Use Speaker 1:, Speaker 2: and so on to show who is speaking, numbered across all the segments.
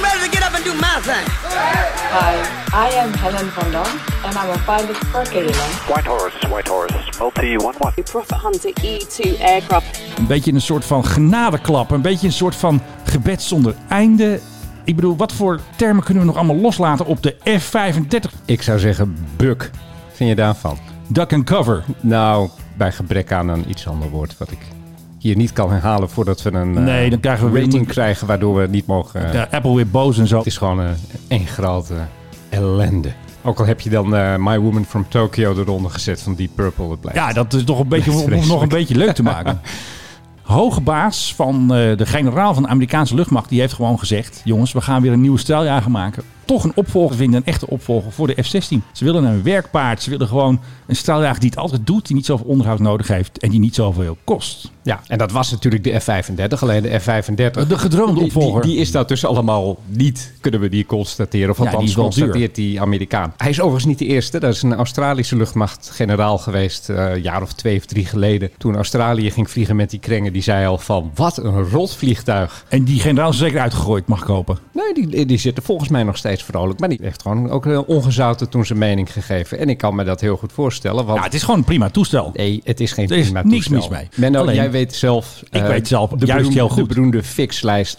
Speaker 1: want to do my thing.
Speaker 2: Hi, I am Helen van Dam and I'm a pilot for KLM.
Speaker 3: Whitehorse, Whitehorse, multi one one.
Speaker 2: Profit Hunter E2 aircraft.
Speaker 4: Een beetje een soort van genadeklap. Een beetje een soort van gebed zonder einde. Ik bedoel, wat voor termen kunnen we nog allemaal loslaten op de F-35?
Speaker 5: Ik zou zeggen buk. Wat Vind je daarvan?
Speaker 4: Duck and cover.
Speaker 5: Nou, bij gebrek aan een iets ander woord wat ik hier niet kan herhalen voordat we een eh,
Speaker 4: Nee, dan krijgen we weer-
Speaker 5: rating krijgen waardoor we niet mogen. eh,
Speaker 4: Ja, Apple weer boos en zo.
Speaker 5: Het is gewoon eh, één grote ellende. Ook al heb je dan eh, My Woman from Tokyo eronder gezet van Deep Purple. Het blijft.
Speaker 4: Ja, dat is toch een beetje
Speaker 5: Dat is
Speaker 4: om het nog een
Speaker 5: vreselijk.
Speaker 4: beetje leuk te maken. Hoge baas van eh, de generaal van de Amerikaanse luchtmacht, die heeft gewoon gezegd: jongens, we gaan weer een nieuwe straaljager maken. Toch een opvolger vinden, een echte opvolger voor de F-16. Ze willen een werkpaard. Ze willen gewoon een straaljager die het altijd doet, die niet zoveel onderhoud nodig heeft en die niet zoveel kost.
Speaker 5: Ja, en dat was natuurlijk de F-35. Alleen de F-35.
Speaker 4: De gedroomde
Speaker 5: Die-
Speaker 4: opvolger.
Speaker 5: Die, die is dat dus allemaal niet, kunnen we die constateren. Of
Speaker 4: Ja,
Speaker 5: althans
Speaker 4: die is wel
Speaker 5: constateert die Amerikaan. Hij is overigens niet de eerste. Dat is een Australische luchtmachtgeneraal geweest. eh, Een jaar of twee of drie geleden. Toen Australië ging vliegen met die krengen. Die zei al van, wat een rot vliegtuig.
Speaker 4: En die generaal is zeker uitgegooid, mag ik hopen.
Speaker 5: Nee, die, die zit er volgens mij nog steeds vrolijk. Maar die heeft gewoon ook heel ongezouten toen zijn mening gegeven. En ik kan me dat heel goed voorstellen. Want
Speaker 4: Ja, het is gewoon een prima toestel.
Speaker 5: Nee, het is geen
Speaker 4: Er is
Speaker 5: prima
Speaker 4: niks
Speaker 5: toestel.
Speaker 4: mis mee.
Speaker 5: Menno,
Speaker 4: Alleen-
Speaker 5: jij weet zelf...
Speaker 4: Ik
Speaker 5: eh,
Speaker 4: weet zelf
Speaker 5: de
Speaker 4: juist
Speaker 5: beroemde,
Speaker 4: heel goed.
Speaker 5: De beroemde fixlijst.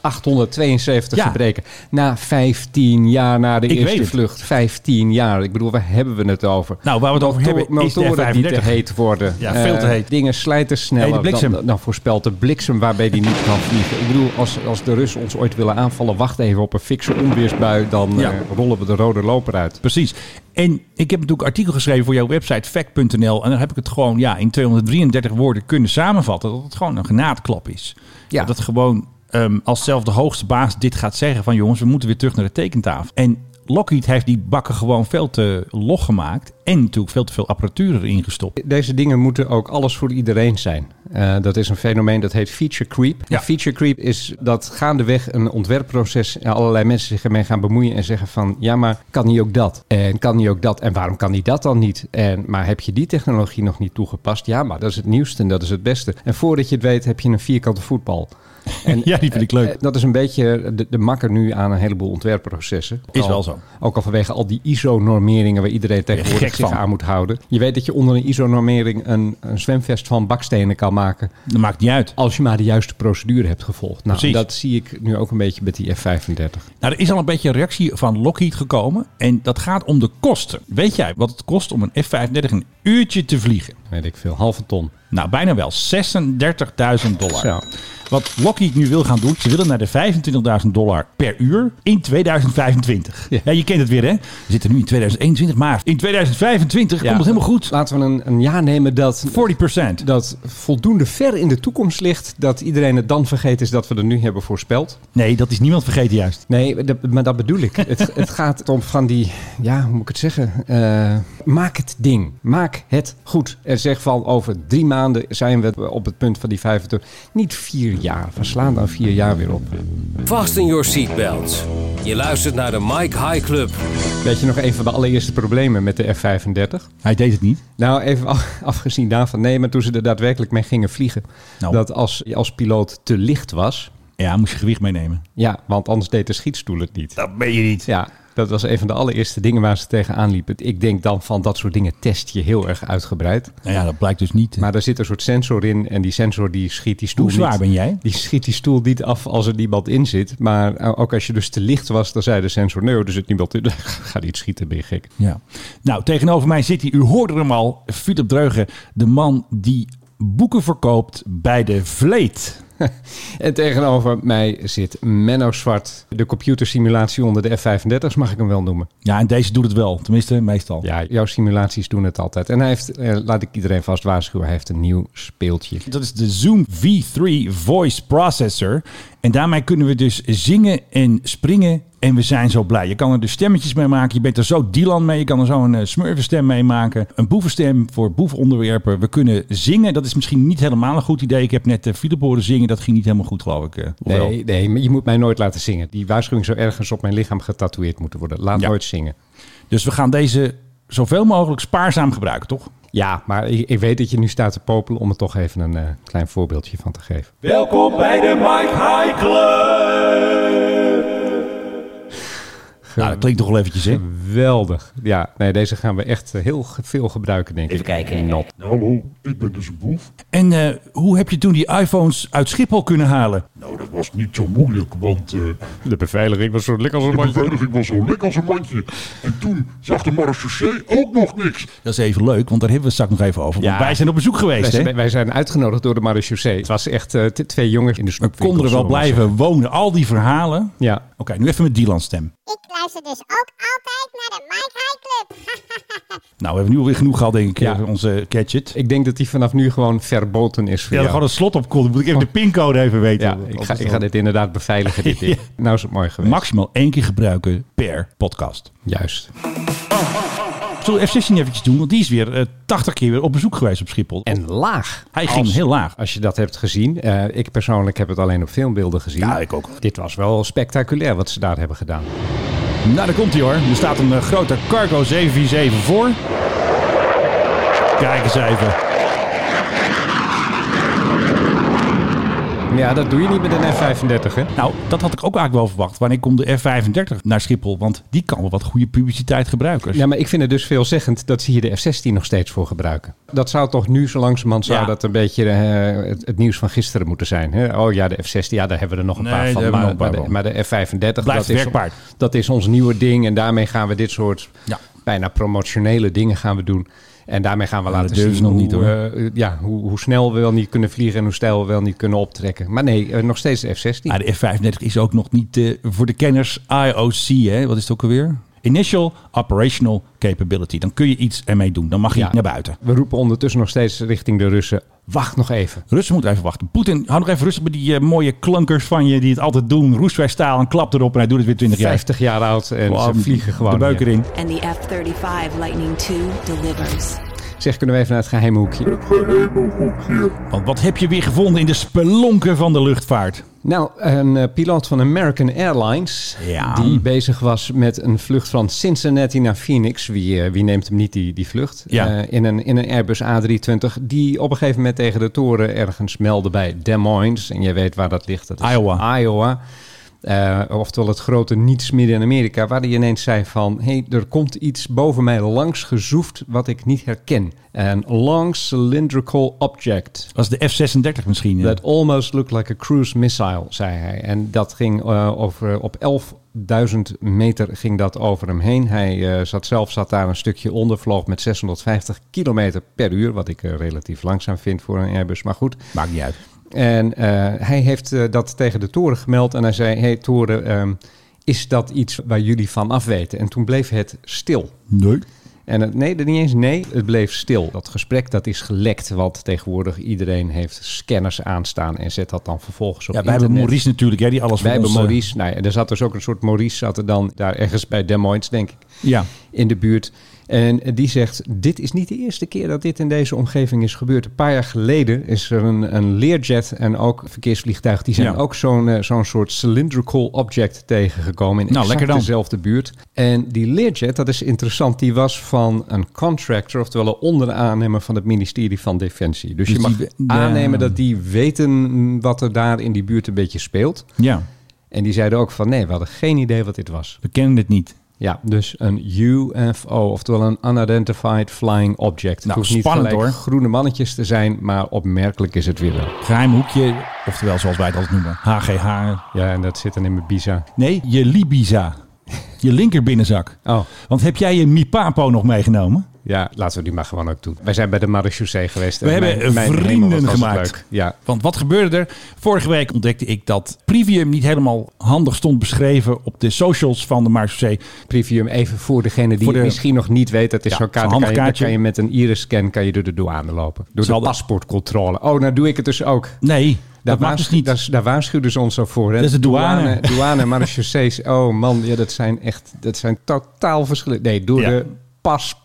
Speaker 5: 872
Speaker 4: Ja.
Speaker 5: gebreken. Na 15 jaar na de
Speaker 4: Ik weet
Speaker 5: eerste
Speaker 4: het.
Speaker 5: vlucht. 15 jaar. Ik bedoel, waar hebben we het over?
Speaker 4: Nou, waar we het over
Speaker 5: Motor-
Speaker 4: hebben is de
Speaker 5: Motoren die te
Speaker 4: F35.
Speaker 5: heet worden.
Speaker 4: Ja,
Speaker 5: Eh,
Speaker 4: veel te heet.
Speaker 5: Dingen slijten sneller.
Speaker 4: Nee, de bliksem.
Speaker 5: Dan, dan voorspelt de bliksem waarbij die niet kan vliegen. Ik bedoel, als, als de Russen ons ooit willen aanvallen... wacht even op een fikse onweersbui. Dan
Speaker 4: Ja.
Speaker 5: eh, rollen we de rode loper uit.
Speaker 4: Precies. En ik heb natuurlijk een artikel geschreven voor jouw website fact.nl. En dan heb ik het gewoon ja, in 233 woorden kunnen samenvatten. Dat het gewoon een genaadklap is.
Speaker 5: Ja.
Speaker 4: Dat het gewoon ehm, als zelf de hoogste baas dit gaat zeggen van jongens, we moeten weer terug naar de tekentafel. En Lockheed heeft die bakken gewoon veel te log gemaakt. En natuurlijk veel te veel apparatuur erin gestopt.
Speaker 5: Deze dingen moeten ook alles voor iedereen zijn. Eh, dat is een fenomeen dat heet feature creep.
Speaker 4: Ja.
Speaker 5: En Feature creep is dat gaandeweg een ontwerpproces en allerlei mensen zich ermee gaan bemoeien en zeggen van ja, maar kan die ook dat? En kan die ook dat? En waarom kan die dat dan niet? En maar heb je die technologie nog niet toegepast? Ja, maar dat is het nieuwste en dat is het beste. En voordat je het weet heb je een vierkante voetbal. En,
Speaker 4: Ja, die vind ik leuk.
Speaker 5: eh, dat is een beetje de, de makker nu aan een heleboel ontwerpprocessen.
Speaker 4: Is
Speaker 5: Al-
Speaker 4: wel zo.
Speaker 5: Ook al vanwege al die ISO-normeringen waar iedereen tegenwoordig
Speaker 4: gek
Speaker 5: zich
Speaker 4: van.
Speaker 5: aan moet houden. Je weet dat je onder een ISO-normering een, een zwemvest van bakstenen kan maken.
Speaker 4: Dat maakt niet uit.
Speaker 5: Als je maar de juiste procedure hebt gevolgd. Nou,
Speaker 4: Precies.
Speaker 5: dat zie ik nu ook een beetje met die F-35.
Speaker 4: Nou, er is al een beetje een reactie van Lockheed gekomen. En dat gaat om de kosten. Weet jij wat het kost om een F-35 een uurtje te vliegen?
Speaker 5: Weet ik veel, halve ton.
Speaker 4: Nou, bijna wel. 36.000 dollar.
Speaker 5: Zo.
Speaker 4: Wat Lockheed nu wil gaan doen, ze willen naar de 25.000 dollar per uur in 2025. Ja.
Speaker 5: Ja.
Speaker 4: je kent het weer, hè? We zitten nu in 2021, maar in 2025 komt het helemaal goed.
Speaker 5: Laten we een, een jaar nemen dat,
Speaker 4: 40%.
Speaker 5: dat voldoende ver in de toekomst ligt. Dat iedereen het dan vergeten is dat we er nu hebben voorspeld.
Speaker 4: Nee, dat is niemand vergeten juist.
Speaker 5: Nee, dat- maar dat bedoel ik. het, het gaat om van die, ja, hoe moet ik het zeggen? Eh, maak het ding. Maak het goed. En zeg van over drie maanden zijn we op het punt van die 25. Niet vier jaar. We slaan dan vier jaar weer op.
Speaker 6: Fasten your seatbelts. Je luistert naar de Mike High Club.
Speaker 5: Weet je nog een van de allereerste problemen met de F-35?
Speaker 4: Hij deed het niet.
Speaker 5: Nou, even af- afgezien daarvan. Nee, maar toen ze er daadwerkelijk mee gingen vliegen.
Speaker 4: Nou.
Speaker 5: Dat als je als piloot te licht was.
Speaker 4: Ja, moest je gewicht meenemen.
Speaker 5: Ja, want anders deed de schietstoel het niet.
Speaker 4: Dat ben je niet.
Speaker 5: Ja, dat was een van de allereerste dingen waar ze tegenaan liepen. Ik denk dan van dat soort dingen test je heel erg uitgebreid.
Speaker 4: Nou ja, dat blijkt dus niet.
Speaker 5: Maar daar zit een soort sensor in en die sensor die schiet die stoel
Speaker 4: Hoe zwaar
Speaker 5: niet-
Speaker 4: ben jij?
Speaker 5: Die schiet die stoel niet af als er niemand in zit. Maar eh, ook als je dus te licht was, dan zei de sensor... nee, hoor, er zit niemand in. Ga niet schieten, ben je gek.
Speaker 4: Ja. Nou, tegenover mij zit hij. U hoorde hem al. Philip Dreugen, de man die boeken verkoopt bij de Vleet.
Speaker 5: En tegenover mij zit Menno Zwart. De computersimulatie onder de F-35's mag ik hem wel noemen.
Speaker 4: Ja, en deze doet het wel. Tenminste, meestal.
Speaker 5: Ja, jouw simulaties doen het altijd. En hij heeft, eh, laat ik iedereen vast waarschuwen... hij heeft een nieuw speeltje.
Speaker 4: Dat is de Zoom V3 Voice Processor. En daarmee kunnen we dus zingen en springen. En we zijn zo blij. Je kan er dus stemmetjes mee maken. Je bent er zo Dylan mee. Je kan er zo een eh, smurfenstem mee maken. Een boevenstem voor boevenonderwerpen. We kunnen zingen. Dat is misschien niet helemaal een goed idee. Ik heb net eh, Philip horen zingen. Dat ging niet helemaal goed, geloof ik. eh. Of wel?
Speaker 5: Nee, nee, maar je moet mij nooit laten zingen. Die waarschuwing zou ergens op mijn lichaam getatoeëerd moeten worden. Laat
Speaker 4: Ja.
Speaker 5: nooit zingen.
Speaker 4: Dus we gaan deze zoveel mogelijk spaarzaam gebruiken, toch?
Speaker 5: Ja, maar ik, ik weet dat je nu staat te popelen om er toch even een eh, klein voorbeeldje van te geven.
Speaker 7: Welkom bij de Mike High Club.
Speaker 4: Nou, dat klinkt toch wel eventjes, hè?
Speaker 5: Geweldig. Ja, nee, deze gaan we echt eh, heel ge- veel gebruiken, denk
Speaker 1: Even
Speaker 5: ik.
Speaker 1: kijken.
Speaker 5: Not.
Speaker 7: Hallo, ik ben dus een boef.
Speaker 4: En eh, hoe heb je toen die iPhones uit Schiphol kunnen halen?
Speaker 7: Nou, dat was niet zo moeilijk, want eh,
Speaker 5: De beveiliging was zo lekker als een
Speaker 7: de
Speaker 5: mandje.
Speaker 7: beveiliging was zo lek als een mandje. En toen zag de marechaussee ook nog niks.
Speaker 4: Dat is even leuk, want daar hebben we het straks nog even over. Want
Speaker 5: Ja.
Speaker 4: wij zijn op bezoek
Speaker 5: Wij
Speaker 4: geweest, hè?
Speaker 5: zijn, wij zijn uitgenodigd door de marechaussee. Het was echt eh, t- twee jongens in de
Speaker 4: We
Speaker 5: snoepwinkel.
Speaker 4: konden er wel
Speaker 5: zullen we maar
Speaker 4: blijven wonen. Al die verhalen. Oké,
Speaker 5: zeggen. Ja.
Speaker 4: nu even met Dylan stem.
Speaker 8: Ik luister dus ook altijd naar de Mike High Club.
Speaker 4: Nou, we hebben nu weer genoeg gehad, denk ik,
Speaker 5: Ja.
Speaker 4: eh, onze gadget.
Speaker 5: Ik denk dat die vanaf nu gewoon verboten is voor
Speaker 4: Ja, er
Speaker 5: jou.
Speaker 4: gewoon een slot op kon. Moet ik even de pincode even weten.
Speaker 5: Oh. Ja, ik ga, ik ga dit inderdaad beveiligen. Dit ding. Nou is het mooi geweest.
Speaker 4: maximaal één keer gebruiken per podcast.
Speaker 5: Juist.
Speaker 4: Zullen we F-16 eventjes doen? Want die is weer eh, 80 keer weer op bezoek geweest op Schiphol.
Speaker 5: En laag.
Speaker 4: Hij ging heel laag.
Speaker 5: Als je dat hebt gezien. Eh, ik persoonlijk heb het alleen op filmbeelden gezien.
Speaker 4: Ja, ik ook.
Speaker 5: Dit was wel spectaculair wat ze daar hebben gedaan.
Speaker 4: Nou, daar komt hij hoor. Er staat een eh, grote Cargo 747 voor. Kijk eens even.
Speaker 5: Maar Ja, dat doe je niet met een F-35, hè?
Speaker 4: Nou, dat had ik ook eigenlijk wel verwacht. Wanneer komt de F-35 naar Schiphol? Want die kan wel wat goede publiciteit gebruiken.
Speaker 5: Ja, maar ik vind het dus veelzeggend dat ze hier de F-16 nog steeds voor gebruiken. Dat zou toch nu zo langzamerhand zou
Speaker 4: Ja.
Speaker 5: dat een beetje eh, het, het nieuws van gisteren moeten zijn. Hè? Oh ja, de F-16, ja, daar hebben we er nog een
Speaker 4: Nee,
Speaker 5: paar
Speaker 4: daar
Speaker 5: van.
Speaker 4: hebben we
Speaker 5: Maar,
Speaker 4: nog een paar
Speaker 5: maar de, maar de F-35, dat, is,
Speaker 4: werkpaard.
Speaker 5: dat is ons nieuwe ding. En daarmee gaan we dit soort
Speaker 4: Ja.
Speaker 5: bijna promotionele dingen gaan we doen. En daarmee gaan we
Speaker 4: dat
Speaker 5: laten
Speaker 4: durven
Speaker 5: zien
Speaker 4: ze nog
Speaker 5: hoe,
Speaker 4: niet, hoor.
Speaker 5: eh, ja, hoe, hoe snel we wel niet kunnen vliegen en hoe stijl we wel niet kunnen optrekken. Maar nee, eh, nog steeds de F-16.
Speaker 4: Maar Ah, de F-35 is ook nog niet eh, voor de kenners IOC. Hè? Wat is het ook alweer? Initial Operational Capability. Dan kun je iets ermee doen. Dan mag je
Speaker 5: Ja.
Speaker 4: naar buiten.
Speaker 5: We roepen ondertussen nog steeds richting de Russen. Wacht nog even.
Speaker 4: Russen moeten even wachten. Poetin, hou nog even rustig met die eh, mooie klankers van je die het altijd doen. Roestwijstaal en klap erop en hij doet het weer 20 jaar.
Speaker 5: 50 jaar oud en
Speaker 4: Wow,
Speaker 5: ze vliegen gewoon.
Speaker 4: De beuker
Speaker 5: weer.
Speaker 4: in.
Speaker 9: And the F 35 Lightning II delivers.
Speaker 5: Zeg, kunnen we even naar het geheime hoekje?
Speaker 4: Want wat heb je weer gevonden in de spelonken van de luchtvaart?
Speaker 5: Nou, een eh, piloot van American Airlines...
Speaker 4: Ja.
Speaker 5: die bezig was met een vlucht van Cincinnati naar Phoenix... wie, eh, wie neemt hem niet die, die vlucht?
Speaker 4: Ja.
Speaker 5: Eh, in, een, in een Airbus A320... die op een gegeven moment tegen de toren ergens meldde bij Des Moines. En je weet waar dat ligt. Dat is
Speaker 4: Iowa.
Speaker 5: Iowa. Eh, oftewel het grote niets midden in Amerika... waar hij ineens zei van... hé, hey, er komt iets boven mij langs gezoefd... wat ik niet herken. Een long cylindrical object...
Speaker 4: Dat is de F-36 misschien. hè?
Speaker 5: That almost looked like a cruise missile, zei hij. En dat ging eh, over, op 11.000 meter ging dat over hem heen. Hij eh, zat zelf zat daar een stukje onder, vloog met 650 kilometer per uur. Wat ik eh, relatief langzaam vind voor een Airbus, maar goed.
Speaker 4: Maakt niet uit.
Speaker 5: En eh, hij heeft eh, dat tegen de toren gemeld. En hij zei, hey toren, ehm, is dat iets waar jullie van af weten? En toen bleef het stil.
Speaker 4: Nee.
Speaker 5: En het, nee, niet eens nee, het bleef stil. Dat gesprek dat is gelekt, want tegenwoordig iedereen heeft scanners aanstaan en zet dat dan vervolgens op
Speaker 4: Ja, wij
Speaker 5: internet.
Speaker 4: hebben Maurice natuurlijk, hè, die alles
Speaker 5: Wij
Speaker 4: voor
Speaker 5: hebben
Speaker 4: ons, eh,
Speaker 5: Maurice. Nou ja, er zat dus ook een soort Maurice, zat er dan daar ergens bij Des Moines, denk ik,
Speaker 4: Ja.
Speaker 5: in de buurt. En die zegt, dit is niet de eerste keer dat dit in deze omgeving is gebeurd. Een paar jaar geleden is er een, een Learjet en ook een verkeersvliegtuig, die zijn
Speaker 4: Ja.
Speaker 5: ook zo'n eh, zo'n soort cylindrical object tegengekomen in
Speaker 4: Nou,
Speaker 5: exact
Speaker 4: lekker dan.
Speaker 5: dezelfde buurt. En die Learjet, dat is interessant, die was van een contractor, oftewel een onderaannemer van het ministerie van Defensie. Dus,
Speaker 4: Dus
Speaker 5: je mag
Speaker 4: die-
Speaker 5: aannemen
Speaker 4: ja.
Speaker 5: dat die weten mm, wat er daar in die buurt een beetje speelt.
Speaker 4: ja,
Speaker 5: En die zeiden ook van nee, we hadden geen idee wat dit was.
Speaker 4: we kennen het niet.
Speaker 5: Ja, dus een UFO, oftewel een Unidentified Flying Object. Het
Speaker 4: Nou,
Speaker 5: hoeft niet
Speaker 4: spannend,
Speaker 5: gelijk
Speaker 4: hoor.
Speaker 5: groene mannetjes te zijn, maar opmerkelijk is het weer wel.
Speaker 4: Geheim hoekje, oftewel zoals wij het altijd noemen, HGH.
Speaker 5: Ja, en dat zit dan in mijn bisa.
Speaker 4: Nee, je Libiza. Je linkerbinnenzak.
Speaker 5: Oh,
Speaker 4: Want heb jij je Mipapo nog meegenomen?
Speaker 5: ja, laten we die maar gewoon ook doen. Wij zijn bij de marechaussee geweest.
Speaker 4: We hebben vrienden
Speaker 5: hemel, wat was het
Speaker 4: gemaakt.
Speaker 5: leuk. Ja,
Speaker 4: Want wat gebeurde er? Vorige week ontdekte ik dat Privium niet helemaal handig stond beschreven op de socials van de Marseille.
Speaker 5: Privium even voor degene die
Speaker 4: Voor de-
Speaker 5: het misschien nog niet weet. Dat is
Speaker 4: Ja,
Speaker 5: zo'n kaart.
Speaker 4: zo'n
Speaker 5: Dan kan je, dan
Speaker 4: handkaartje.
Speaker 5: kan je met een iris-scan kan je door de douane lopen. Door de
Speaker 4: Zal de-
Speaker 5: paspoortcontrole. Oh, nou doe ik het dus ook.
Speaker 4: Nee,
Speaker 5: Daar,
Speaker 4: dat mag dus
Speaker 5: waarschu-
Speaker 4: niet.
Speaker 5: daar, daar waarschuwden ze ons al voor. Hè?
Speaker 4: Dat is de douane.
Speaker 5: Douane, douane marechaussees. Oh man, ja, dat zijn echt dat zijn totaal verschillende. Nee, door
Speaker 4: Ja.
Speaker 5: de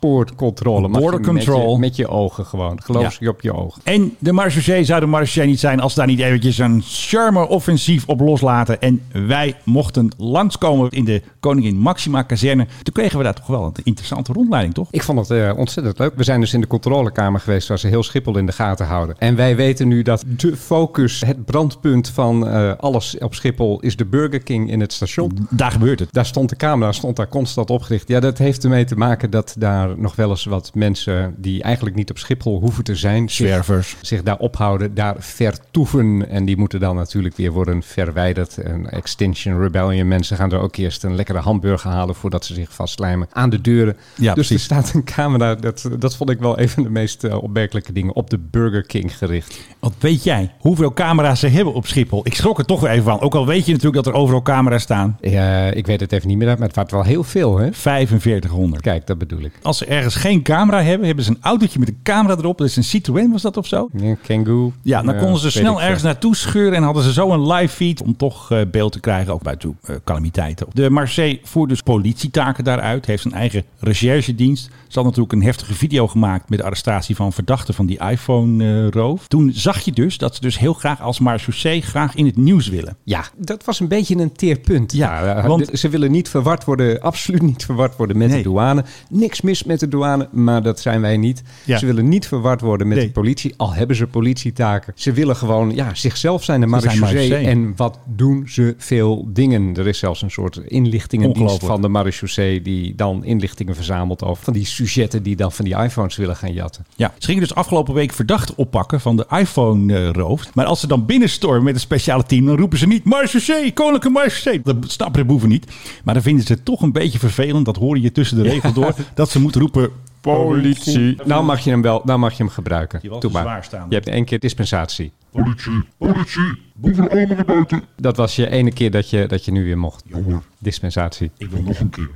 Speaker 5: paspoortcontrole. mag je
Speaker 4: Border
Speaker 5: met je-
Speaker 4: control.
Speaker 5: Met je, ogen gewoon. Geloof
Speaker 4: Ja.
Speaker 5: je op je ogen.
Speaker 4: En de marechaussee zou de marechaussee niet zijn als daar niet eventjes een charmer offensief op loslaten. En wij mochten langskomen in de Koningin Maxima kazerne. Toen kregen we daar toch wel een interessante rondleiding, toch?
Speaker 5: Ik vond het eh, ontzettend leuk. We zijn dus in de controlekamer geweest waar ze heel Schiphol in de gaten houden. En wij weten nu dat de focus, het brandpunt van eh, alles op Schiphol is de Burger King in het station.
Speaker 4: Daar gebeurt het.
Speaker 5: Daar stond de camera, stond daar constant opgericht. Ja, dat heeft ermee te maken dat daar nog wel eens wat mensen die eigenlijk niet op Schiphol hoeven te zijn, zich-
Speaker 4: Zwervers.
Speaker 5: zich daar ophouden, daar vertoeven. En die moeten dan natuurlijk weer worden verwijderd. En Extinction Rebellion mensen gaan er ook eerst een lekkere hamburger halen voordat ze zich vastlijmen aan de deuren.
Speaker 4: Ja,
Speaker 5: dus
Speaker 4: precies.
Speaker 5: er staat een camera, dat, dat vond ik wel een van de meest eh, opmerkelijke dingen, op de Burger King gericht.
Speaker 4: Want weet jij hoeveel camera's ze hebben op Schiphol? Ik schrok er toch weer even van. Ook al weet je natuurlijk dat er overal camera's staan.
Speaker 5: Ja, ik weet het even niet meer, maar het waren wel heel veel, hè?
Speaker 4: 4500.
Speaker 5: Kijk, dat bedoel ik.
Speaker 4: Als ze ergens geen camera hebben, hebben ze een autootje met een camera erop. Dat is een Citroën, was dat of zo?
Speaker 5: Ja, Kangoo.
Speaker 4: Ja, dan
Speaker 5: eh,
Speaker 4: konden ze
Speaker 5: weet ik
Speaker 4: snel
Speaker 5: veel.
Speaker 4: ergens naartoe scheuren en hadden ze zo een live feed om toch eh, beeld te krijgen, ook bij toe, eh, calamiteiten. De Marseille voert dus politietaken daaruit, heeft een eigen recherchedienst. Ze had natuurlijk een heftige video gemaakt met de arrestatie van verdachten van die iPhone-roof. Toen zag je dus dat ze dus heel graag als marechaussee graag in het nieuws willen.
Speaker 5: Ja, dat was een beetje een teerpunt.
Speaker 4: Ja,
Speaker 5: Ja,
Speaker 4: want-
Speaker 5: want ze willen niet verward worden, absoluut niet verward worden met
Speaker 4: Nee.
Speaker 5: de douane. Niks mis met de douane, maar dat zijn wij niet.
Speaker 4: Ja.
Speaker 5: Ze willen niet verward worden met
Speaker 4: Nee.
Speaker 5: de politie, al hebben ze politietaken. Ze willen gewoon ja, zichzelf zijn de
Speaker 4: Ze zijn
Speaker 5: marechaussee.
Speaker 4: marechaussee.
Speaker 5: En wat doen ze veel dingen? Er is zelfs een soort inlichtingendienst
Speaker 4: Ongelooflijk.
Speaker 5: van de marechaussee die dan inlichtingen verzamelt over van die sujetten die dan van die iPhones willen gaan jatten.
Speaker 4: Ja, ze gingen dus afgelopen week verdachten oppakken van de iPhone-roof. maar als ze dan binnenstormen met een speciale team, dan roepen ze niet Marchaussee, Koninklijke Marchaussee. Dat snappen de boeven niet. Maar dan vinden ze het toch een beetje vervelend, dat hoor je tussen de regels door, dat ze moeten roepen politie.
Speaker 5: Nou mag je hem wel, nou mag je hem gebruiken.
Speaker 4: Die was
Speaker 5: Doe
Speaker 4: te
Speaker 5: maar.
Speaker 4: zwaar staan.
Speaker 5: Je hebt één keer dispensatie.
Speaker 7: Politie, politie, boeven allemaal naar buiten.
Speaker 5: Dat was je ene keer dat je, dat je nu weer mocht.
Speaker 7: Jongen,
Speaker 5: Dispensatie.
Speaker 7: ik wil nog een keer.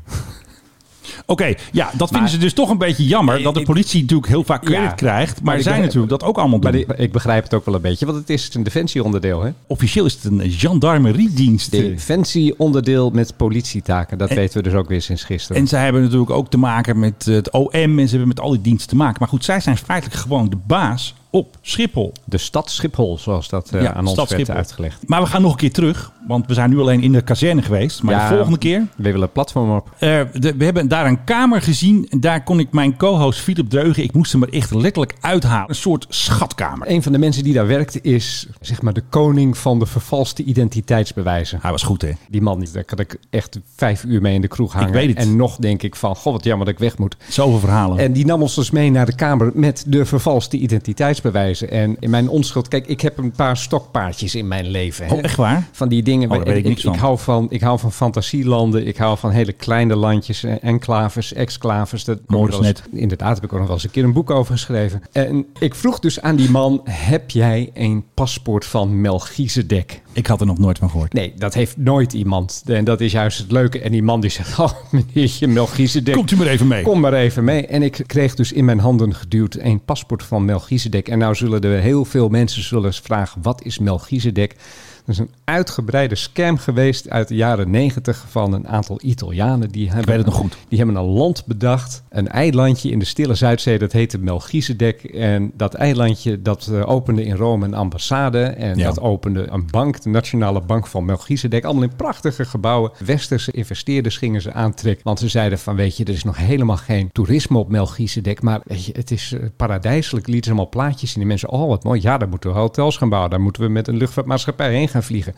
Speaker 4: Oké, ja, dat vinden
Speaker 5: Maar-
Speaker 4: ze dus toch een beetje jammer, dat de
Speaker 5: Ik-
Speaker 4: politie natuurlijk heel vaak credit
Speaker 5: Ja.
Speaker 4: krijgt. Maar,
Speaker 5: Maar ik
Speaker 4: zij
Speaker 5: ben-
Speaker 4: natuurlijk dat ook allemaal doen.
Speaker 5: Maar die- ik begrijp het ook wel een beetje, want het is een defensieonderdeel. Hè?
Speaker 4: Officieel is het een gendarmeriedienst. eh,
Speaker 5: Defensieonderdeel met politietaken. Dat weten we dus ook weer sinds gisteren.
Speaker 4: En zij hebben natuurlijk ook te maken met eh, het OM en ze hebben met al die diensten te maken. Maar goed, zij zijn feitelijk gewoon de baas op Schiphol.
Speaker 5: de stad Schiphol, zoals dat eh, aan
Speaker 4: stad
Speaker 5: ons werd
Speaker 4: Schiphol.
Speaker 5: uitgelegd.
Speaker 4: Maar we gaan nog een keer terug, want we zijn nu alleen in de kazerne geweest. Maar
Speaker 5: Ja,
Speaker 4: de volgende keer,
Speaker 5: We willen een platform op.
Speaker 4: eh, de- we hebben daar een kamer gezien. En daar kon ik mijn co-host Philip Dreugen, ik moest hem er echt letterlijk uithalen. Een soort schatkamer.
Speaker 5: Een van de mensen die daar werkt is zeg maar, de koning van de vervalste identiteitsbewijzen.
Speaker 4: Hij was goed, hè?
Speaker 5: Die man, daar kan ik echt vijf uur mee in de kroeg hangen.
Speaker 4: weet het.
Speaker 5: En nog denk ik van, god wat jammer dat ik weg moet.
Speaker 4: Zoveel verhalen.
Speaker 5: En die nam ons dus mee naar de kamer met de vervalste identiteitsbewijzen. En in mijn onschuld, kijk, ik heb een paar stokpaardjes in mijn leven. hè.
Speaker 4: Oh, echt waar?
Speaker 5: Van die dingen.
Speaker 4: Oh, daar weet ik niks van.
Speaker 5: hou van. Ik hou van fantasielanden. Ik hou van hele kleine landjes. eh, Enclaves, exclaves. Dat
Speaker 4: Mooi
Speaker 5: dat was-
Speaker 4: net.
Speaker 5: Inderdaad, heb ik ook nog wel eens een keer een boek over geschreven. En ik vroeg dus aan die man, heb jij een paspoort van Melchizedek?
Speaker 4: Ik had er nog nooit van gehoord.
Speaker 5: Nee, dat heeft nooit iemand. En dat is juist het leuke. En die man die zegt, oh meneertje Melchizedek.
Speaker 4: Komt u maar even mee.
Speaker 5: Kom maar even mee. En ik kreeg dus in mijn handen geduwd een paspoort van Melchizedek. En nou zullen er heel veel mensen zullen eens vragen, wat is Melchizedek? Dat is een uitgebreide scam geweest uit de jaren negentig van een aantal Italianen. Die hebben,
Speaker 4: weet het nog goed.
Speaker 5: Die hebben een land bedacht, een eilandje in de stille Zuidzee, dat heette Melchizedek. En dat eilandje, dat eh, opende in Rome een ambassade. En
Speaker 4: Ja.
Speaker 5: dat opende een bank, de Nationale Bank van Melchizedek. Allemaal in prachtige gebouwen. Westerse investeerders gingen ze aantrekken. Want ze zeiden van, weet je, er is nog helemaal geen toerisme op Melchizedek. Maar weet je, het is eh, paradijselijk. Lieten ze allemaal plaatjes zien. Die mensen, oh wat mooi. Ja, daar moeten we hotels gaan bouwen. Daar moeten we met een luchtvaartmaatschappij heen gaan vliegen.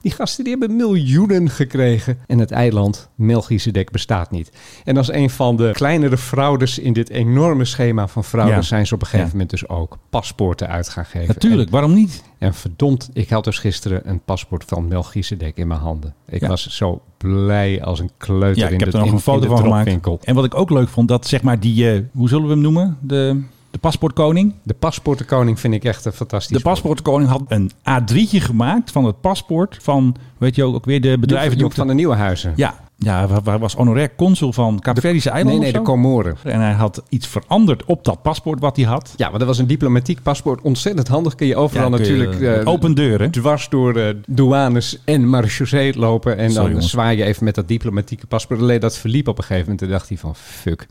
Speaker 5: Die gasten die hebben miljoenen gekregen. En het eiland Melchizedek bestaat niet. En als een van de kleinere fraudes in dit enorme schema van fraudes...
Speaker 4: Ja.
Speaker 5: zijn ze op een gegeven
Speaker 4: Ja.
Speaker 5: moment dus ook paspoorten uit gaan geven.
Speaker 4: Natuurlijk, waarom niet?
Speaker 5: En verdomd, ik had dus gisteren een paspoort van Melchizedek in mijn handen. Ik
Speaker 4: Ja.
Speaker 5: was zo blij als een kleuter
Speaker 4: Ja, ik
Speaker 5: in
Speaker 4: heb
Speaker 5: de
Speaker 4: er nog
Speaker 5: in-
Speaker 4: een
Speaker 5: in de
Speaker 4: foto van
Speaker 5: dropwinkel.
Speaker 4: gemaakt. En wat ik ook leuk vond, dat zeg maar die, eh, hoe zullen we hem noemen? De, de paspoortkoning.
Speaker 5: De paspoortenkoning vind ik echt een fantastisch
Speaker 4: De paspoortkoning had een A3'tje gemaakt van het paspoort van, weet je ook, ook weer de
Speaker 5: boek. Joep-
Speaker 4: bedrijven...
Speaker 5: Joep van de Nieuwenhuizen.
Speaker 4: Ja, ja hij- hij was honorair consul van Capverdische
Speaker 5: nee,
Speaker 4: eilanden
Speaker 5: nee, de
Speaker 4: of zo.
Speaker 5: Comoren.
Speaker 4: En hij had iets veranderd op dat paspoort wat hij had.
Speaker 5: Ja, want dat was een diplomatiek paspoort. Ontzettend handig. Kun je overal
Speaker 4: Ja, kun je,
Speaker 5: natuurlijk
Speaker 4: eh,
Speaker 5: eh,
Speaker 4: open deuren.
Speaker 5: dwars door de douanes en marechaussee lopen. En
Speaker 4: Sorry,
Speaker 5: dan
Speaker 4: jongens.
Speaker 5: zwaai je even met dat diplomatieke paspoort. Alleen dat verliep op een gegeven moment. En dacht hij van, fuck.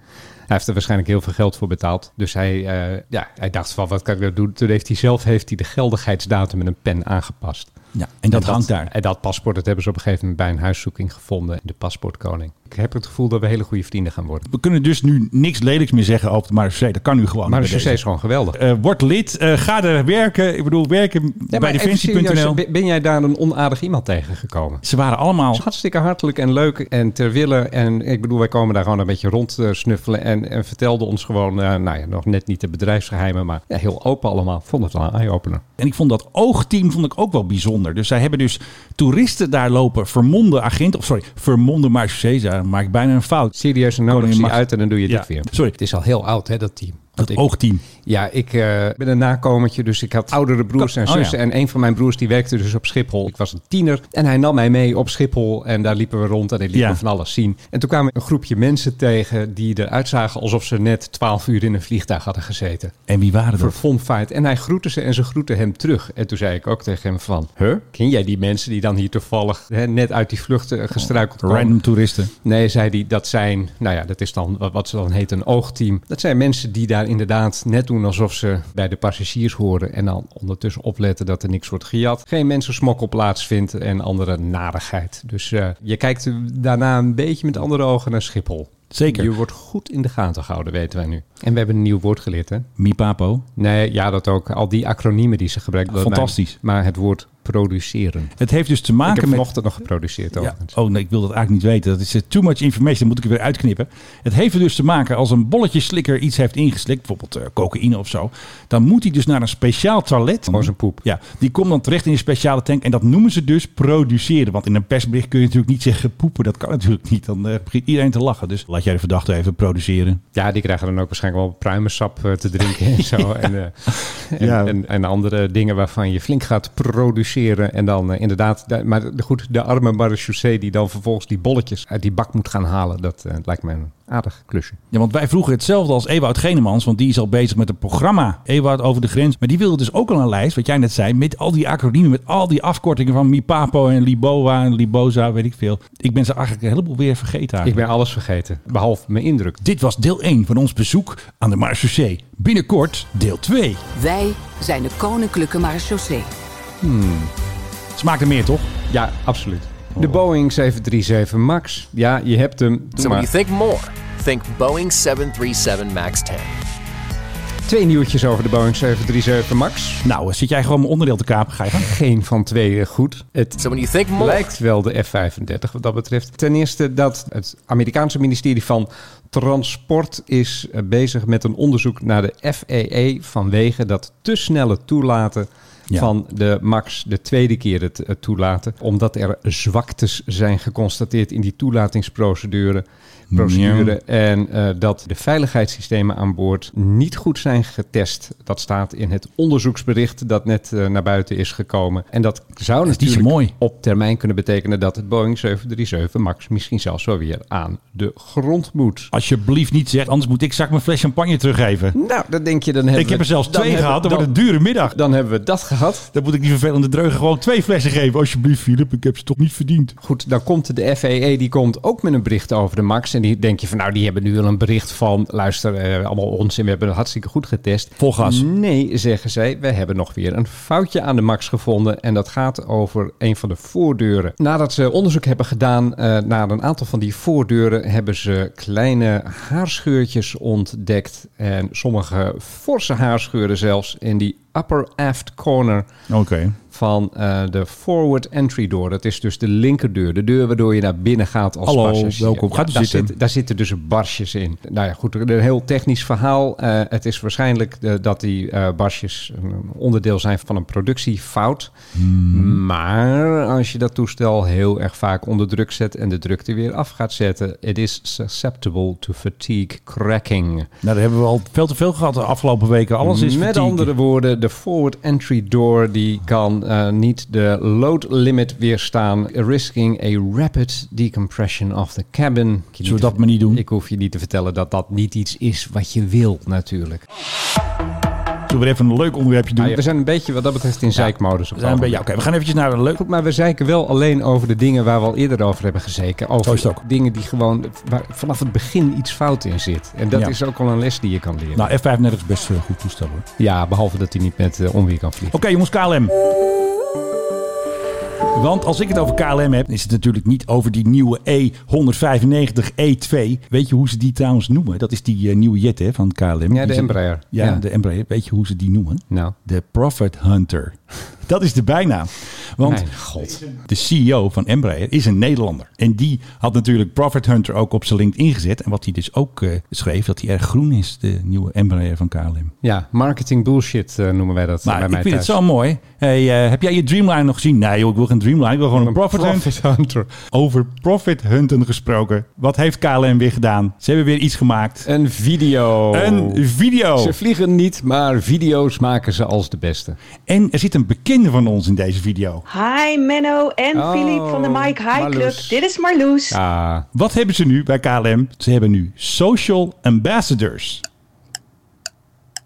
Speaker 5: heeft er waarschijnlijk heel veel geld voor betaald. Dus hij, eh, ja, hij dacht van, wat kan ik nou doen? Toen heeft hij zelf heeft hij de geldigheidsdatum met een pen aangepast.
Speaker 4: Ja, en dat hangt daar.
Speaker 5: En dat paspoort, dat hebben ze op een gegeven moment bij een huiszoeking gevonden. De paspoortkoning. Ik heb het gevoel dat we hele goede vrienden gaan worden.
Speaker 4: We kunnen dus nu niks lelijks meer zeggen over de Marseille. Dat kan nu gewoon.
Speaker 5: Maar de
Speaker 4: bij
Speaker 5: succes
Speaker 4: deze.
Speaker 5: is gewoon geweldig.
Speaker 4: Eh, word lid, eh, ga er werken. Ik bedoel, werken bij defensie.nl.
Speaker 5: ben ben jij daar een onaardig iemand tegengekomen?
Speaker 4: Ze waren allemaal.
Speaker 5: Het is hartstikke hartelijk en leuk en ter wille. En ik bedoel, wij komen daar gewoon een beetje rond eh, snuffelen. En, en vertelden ons gewoon, eh, nou ja, nog net niet de bedrijfsgeheimen, maar ja, heel open allemaal. Vond het wel een eye-opener.
Speaker 4: En ik vond dat oogteam vond ik ook wel bijzonder. Dus zij hebben dus toeristen daar lopen, vermonde agenten. Of sorry, vermonde Marseille's. Daar maak ik bijna een fout.
Speaker 5: Serieus, en nodig
Speaker 4: Koningin
Speaker 5: ze je
Speaker 4: mag-
Speaker 5: uit en dan doe je
Speaker 4: Ja,
Speaker 5: dit weer.
Speaker 4: sorry.
Speaker 5: Het is al heel oud, hè, dat team. Want
Speaker 4: Dat
Speaker 5: ik-
Speaker 4: oogteam.
Speaker 5: Ja, ik eh, ben een nakomertje, dus ik had oudere broers en
Speaker 4: Oh, ja.
Speaker 5: zussen. En een van mijn broers die werkte dus op Schiphol. Ik was een tiener en hij nam mij mee op Schiphol. En daar liepen we rond en ik liet
Speaker 4: Ja.
Speaker 5: me van alles zien. En toen kwamen we een groepje mensen tegen die eruit zagen alsof ze net 12 uur in een vliegtuig hadden gezeten.
Speaker 4: En wie waren
Speaker 5: Voor
Speaker 4: dat?
Speaker 5: fun fight. En hij groette ze en ze groetten hem terug. En toen zei ik ook tegen hem van... Huh? Ken jij die mensen die dan hier toevallig hè, net uit die vluchten eh, gestruikeld komen?
Speaker 4: Random toeristen.
Speaker 5: Nee, zei hij, dat zijn, nou ja, dat is dan wat, wat ze dan heet een oogteam. Dat zijn mensen die daar inderdaad net doen alsof ze bij de passagiers horen. En dan ondertussen opletten dat er niks wordt gejat. Geen mensensmokkel plaatsvindt en andere narigheid. Dus eh, je kijkt daarna een beetje met andere ogen naar Schiphol.
Speaker 4: Zeker.
Speaker 5: Je wordt goed in de gaten gehouden, weten wij nu. En we hebben een nieuw woord geleerd, hè?
Speaker 4: Mi Papo.
Speaker 5: Nee, ja, dat ook. Al die acroniemen die ze gebruiken. dat
Speaker 4: Fantastisch.
Speaker 5: mijn- maar het woord produceren.
Speaker 4: Het heeft dus te
Speaker 5: Ik heb
Speaker 4: maken met.
Speaker 5: vanochtend nog geproduceerd,
Speaker 4: Ja.
Speaker 5: overigens.
Speaker 4: Oh nee, ik wil dat eigenlijk niet weten. Dat is eh, too much information. Dat moet ik er weer uitknippen. Het heeft er dus te maken als een bolletje slikker iets heeft ingeslikt, bijvoorbeeld eh, cocaïne of zo. Dan moet hij dus naar een speciaal toilet.
Speaker 5: Gewoon zijn poep.
Speaker 4: Ja, die komt dan terecht in een speciale tank. En dat noemen ze dus produceren. Want in een persbericht kun je natuurlijk niet zeggen poepen. Dat kan natuurlijk niet. Dan eh, begint iedereen te lachen. Dus laat jij de verdachte even produceren.
Speaker 5: Ja, die krijgen dan ook waarschijnlijk wel pruimensap eh, te drinken en zo. En, eh, en,
Speaker 4: Ja.
Speaker 5: en, en andere dingen waarvan je flink gaat produceren. En dan eh, inderdaad, da- maar de- goed, de arme marechaussee die dan vervolgens die bolletjes uit die bak moet gaan halen. Dat eh, lijkt mij een aardig klusje.
Speaker 4: Ja, want wij vroegen hetzelfde als Ewout Genemans, want die is al bezig met een programma Ewout over de grens. Maar die wilde dus ook al een lijst, wat jij net zei, met al die acroniemen, met al die afkortingen van Mipapo en Liboa en Liboza, weet ik veel. Ik ben ze eigenlijk een heleboel weer vergeten
Speaker 5: Ik
Speaker 4: eigenlijk.
Speaker 5: ben alles vergeten, behalve mijn indruk.
Speaker 4: Dit was deel 1 van ons bezoek aan de Marseillais. Binnenkort deel 2.
Speaker 9: Wij zijn de Koninklijke Marechaussee.
Speaker 4: Smaakt er meer, toch?
Speaker 5: Ja, absoluut. De Boeing 737 MAX. Ja, je hebt hem. Doe
Speaker 1: So when
Speaker 5: maar.
Speaker 1: you think more, think Boeing 737 MAX 10.
Speaker 5: Twee nieuwtjes over de Boeing 737 MAX.
Speaker 4: Nou, eh, zit jij gewoon mijn onderdeel te kapen, ga je gang.
Speaker 5: Geen van twee eh, goed. Het
Speaker 1: So when you think more,
Speaker 5: lijkt wel de F-35 wat dat betreft. Ten eerste dat het Amerikaanse ministerie van Transport is eh, bezig met een onderzoek naar de FAA vanwege dat te snelle toelaten
Speaker 4: Ja.
Speaker 5: van de MAX de tweede keer het eh, toelaten. Omdat er zwaktes zijn geconstateerd in die toelatingsprocedure. Procedure. En eh, dat de veiligheidssystemen aan boord niet goed zijn getest. Dat staat in het onderzoeksbericht dat net eh, naar buiten is gekomen. En Oh, dat zou
Speaker 4: is
Speaker 5: natuurlijk
Speaker 4: mooi.
Speaker 5: op termijn kunnen betekenen dat het Boeing 737 MAX misschien zelfs wel weer aan de grond moet.
Speaker 4: Alsjeblieft niet zeg, anders moet ik zak mijn fles champagne teruggeven.
Speaker 5: Nou, dat denk je dan hebben
Speaker 4: Ik heb
Speaker 5: we-
Speaker 4: er zelfs
Speaker 5: dan
Speaker 4: twee
Speaker 5: hebben-
Speaker 4: gehad, dat
Speaker 5: dan-
Speaker 4: wordt een dure middag.
Speaker 5: Dan hebben we dat gehad.
Speaker 4: Dan moet ik die vervelende dreugen gewoon twee flessen geven. Alsjeblieft, Filip, ik heb ze toch niet verdiend.
Speaker 5: Goed, dan komt de FAA, die komt ook met een bericht over de MAX. En die denk je van, nou, die hebben nu wel een bericht van... luister, eh, allemaal onzin, we hebben het hartstikke goed getest.
Speaker 4: Vol gas.
Speaker 5: Nee, zeggen zij, we hebben nog weer een foutje aan de MAX gevonden. En dat gaat over een van de voordeuren. Nadat ze onderzoek hebben gedaan eh, naar een aantal van die voordeuren... hebben ze kleine haarscheurtjes ontdekt. En sommige forse haarscheuren zelfs in die upper aft corner
Speaker 4: Oké. Nou,
Speaker 5: van eh, de forward entry door. Dat is dus de linkerdeur. De deur waardoor je naar binnen gaat als
Speaker 4: Hallo,
Speaker 5: passagier.
Speaker 4: welkom. Gaat u
Speaker 5: daar,
Speaker 4: zitten.
Speaker 5: Zit, daar zitten dus barsjes in. Nou ja, goed, een heel technisch verhaal. Eh, het is waarschijnlijk eh, dat die eh barsjes een onderdeel zijn van een productiefout.
Speaker 4: Hmm.
Speaker 5: Maar als je dat toestel heel erg vaak onder druk zet en de drukte weer af gaat zetten, it is susceptible to fatigue cracking.
Speaker 4: Nou, daar hebben we al veel te veel gehad de afgelopen weken. Alles is
Speaker 5: Met
Speaker 4: fatigue.
Speaker 5: andere woorden, de forward entry door die kan eh, niet de load limit weerstaan, risking a rapid decompression of the cabin. Ik hoef je
Speaker 4: Zullen we
Speaker 5: niet
Speaker 4: dat
Speaker 5: te-
Speaker 4: maar niet doen?
Speaker 5: Ik hoef je niet te vertellen dat dat niet iets is wat je wil natuurlijk.
Speaker 4: Zullen we weer even een leuk onderwerpje doen.
Speaker 5: Ah, ja, we zijn een beetje wat dat betreft in zeikmodus. Op
Speaker 4: We zijn
Speaker 5: het
Speaker 4: bij jou.
Speaker 5: ogenblik.
Speaker 4: Oké, we gaan eventjes naar een leuk...
Speaker 5: Goed, maar we zeiken wel alleen over de dingen waar we al eerder over hebben gezeken. Over
Speaker 4: Zo is het ook.
Speaker 5: dingen die gewoon waar vanaf het begin iets fout in zit. En dat
Speaker 4: Ja.
Speaker 5: is ook al een les die je kan leren.
Speaker 4: Nou, F35 is best eh, goed toestel hoor. Oké
Speaker 5: Ja, behalve dat hij niet met eh, onweer kan vliegen.
Speaker 4: jongens, KLM. Want als ik het over KLM heb, is het natuurlijk niet over die nieuwe E E195 E2. Weet je hoe ze die trouwens noemen? Dat is die eh, nieuwe jet hè, van KLM. Die
Speaker 5: de
Speaker 4: zit-
Speaker 5: Embraer.
Speaker 4: Ja,
Speaker 5: Ja.
Speaker 4: de Embraer. Weet je hoe ze die noemen?
Speaker 5: Nou.
Speaker 4: De Profit Hunter. Dat is de bijnaam. Want
Speaker 5: Mijn god.
Speaker 4: de CEO van Embraer is een Nederlander. En die had natuurlijk Profit Hunter ook op zijn LinkedIn gezet. En wat hij dus ook eh, schreef, dat hij erg groen is, de nieuwe Embraer van KLM.
Speaker 5: Ja, marketing bullshit eh, noemen wij dat eh,
Speaker 4: Maar
Speaker 5: bij
Speaker 4: ik
Speaker 5: mij
Speaker 4: vind het
Speaker 5: thuis.
Speaker 4: zo mooi. Hey, eh, heb jij je Dreamline nog gezien? Nee joh, ik wil geen Dreamline. Ik wil gewoon een Profit, Hunt.
Speaker 5: Profit Hunter.
Speaker 4: Over Profit Hunten gesproken. Wat heeft KLM weer gedaan? Ze hebben weer iets gemaakt.
Speaker 5: Een video.
Speaker 4: Oh. Een video.
Speaker 5: Ze vliegen niet, maar video's maken ze als de beste.
Speaker 4: En er zit een bekende van ons in deze video.
Speaker 10: Hi Menno en
Speaker 5: Oh,
Speaker 10: Philippe van de Mike High
Speaker 5: Marloes.
Speaker 10: Club. Dit is Marloes.
Speaker 5: Ah,
Speaker 4: Wat hebben ze nu bij KLM? Ze hebben nu social ambassadors.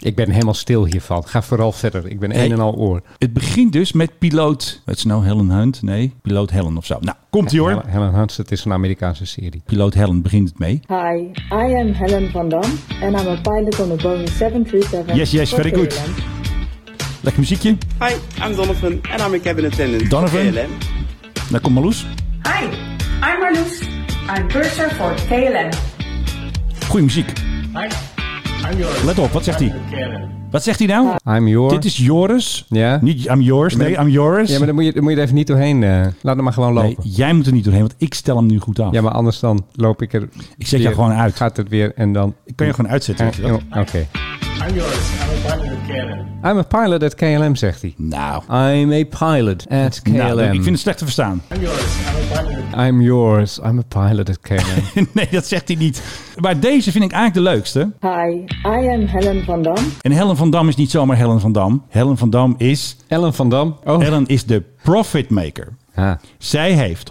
Speaker 5: ik ben helemaal stil hiervan. Ga vooral verder. Ik ben
Speaker 4: Hey.
Speaker 5: een en al oor.
Speaker 4: Het begint dus met piloot. Wat is het nou Helen Hunt? Nee, piloot Helen of zo. Nou, komt ie hoor.
Speaker 5: Helen, Helen Hunt, het is een Amerikaanse serie.
Speaker 4: Piloot Helen begint het mee.
Speaker 2: Hi, I am Helen van Dam and I'm a pilot on the Boeing 737.
Speaker 4: Yes, yes,
Speaker 2: for
Speaker 4: very good.
Speaker 2: KLM.
Speaker 4: Lekker muziekje.
Speaker 10: Hi, I'm Donovan en I'm a cabin attendant.
Speaker 4: Donovan. Daar komt Marloes.
Speaker 2: Hi, I'm Marloes. I'm purser for KLM.
Speaker 4: Goeie muziek. Let op, wat zegt hij? Wat zegt hij nou?
Speaker 5: I'm your.
Speaker 4: Dit is Joris.
Speaker 5: Ja?
Speaker 4: Niet I'm yours. Nee, I'm Joris.
Speaker 5: Ja, maar dan moet je, dan moet je er even niet doorheen. eh. laat hem maar gewoon
Speaker 4: Nee,
Speaker 5: lopen.
Speaker 4: jij moet er niet doorheen, want ik stel hem nu goed af.
Speaker 5: Ja, maar anders dan loop ik er. Ik
Speaker 4: zet jou gewoon uit.
Speaker 5: Gaat het weer en dan.
Speaker 4: Ik kan je gewoon uitzetten. weet je dat?
Speaker 5: Oké. I'm a pilot at KLM, zegt hij.
Speaker 4: Nou,
Speaker 5: I'm a pilot at KLM.
Speaker 4: nou, ik vind het slecht te verstaan.
Speaker 5: I'm yours. I'm a pilot at KLM.
Speaker 4: nee, dat zegt hij niet. Maar deze vind ik eigenlijk de leukste.
Speaker 2: Hi, I am Helen van Dam.
Speaker 4: En Helen van Dam is niet zomaar Helen van Dam. Helen van Dam is...
Speaker 5: Ellen van Dam. Oh.
Speaker 4: Helen is de profitmaker.
Speaker 5: Ja.
Speaker 4: Zij heeft